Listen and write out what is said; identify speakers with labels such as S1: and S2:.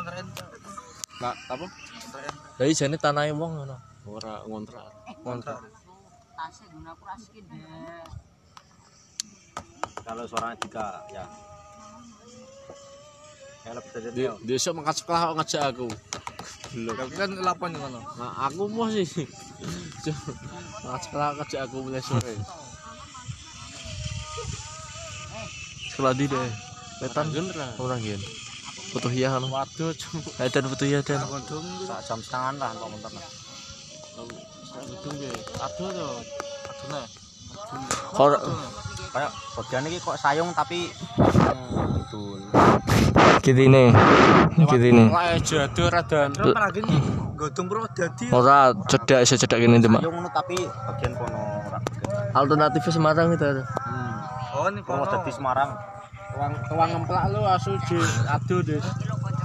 S1: Kontrenta.
S2: Nah, apa?
S1: Kontrenta.
S3: Jadi jane tanahe wong ngono.
S2: Ora ngontrak.
S3: Ngontrak.
S4: tasik guna aku rasikin deh
S5: kalau seorang Dika ya ya lebih dari
S2: Di desa mangkat sekolah kok ngajak aku. Belum.
S1: Tapi kan lapan di mana?
S2: Nah, aku mau sih. Jo- Mangkat sekolah ngajak aku mulai sore.
S3: Sekolah di deh. Wetan
S2: Gendra.
S3: ora ngen. Butuh ya ngono. Eh,
S2: Waduh, cuma
S3: Edan butuh ya den.
S1: Gondong itu.
S5: sak jam setengah lah kok mentok
S2: saya gedung ya. Aduh tuh. Aduh nah.
S3: Kor
S5: kayak bagian ini kok sayung tapi betul
S3: kitine. Kitine.
S2: Lah jadu radan.
S1: Terus lagi ini gondong bro jadi.
S3: Ora cedak iso cedak kene demak.
S5: sayung nu tapi bagian kono ora bagian.
S3: Alternatifnya Semarang itu ada.
S1: Oh ini
S5: kono
S1: kono.
S5: dadi Semarang
S2: Tuang tuang ngemplak lu asu ji. Aduh, Des.
S4: kilo kocok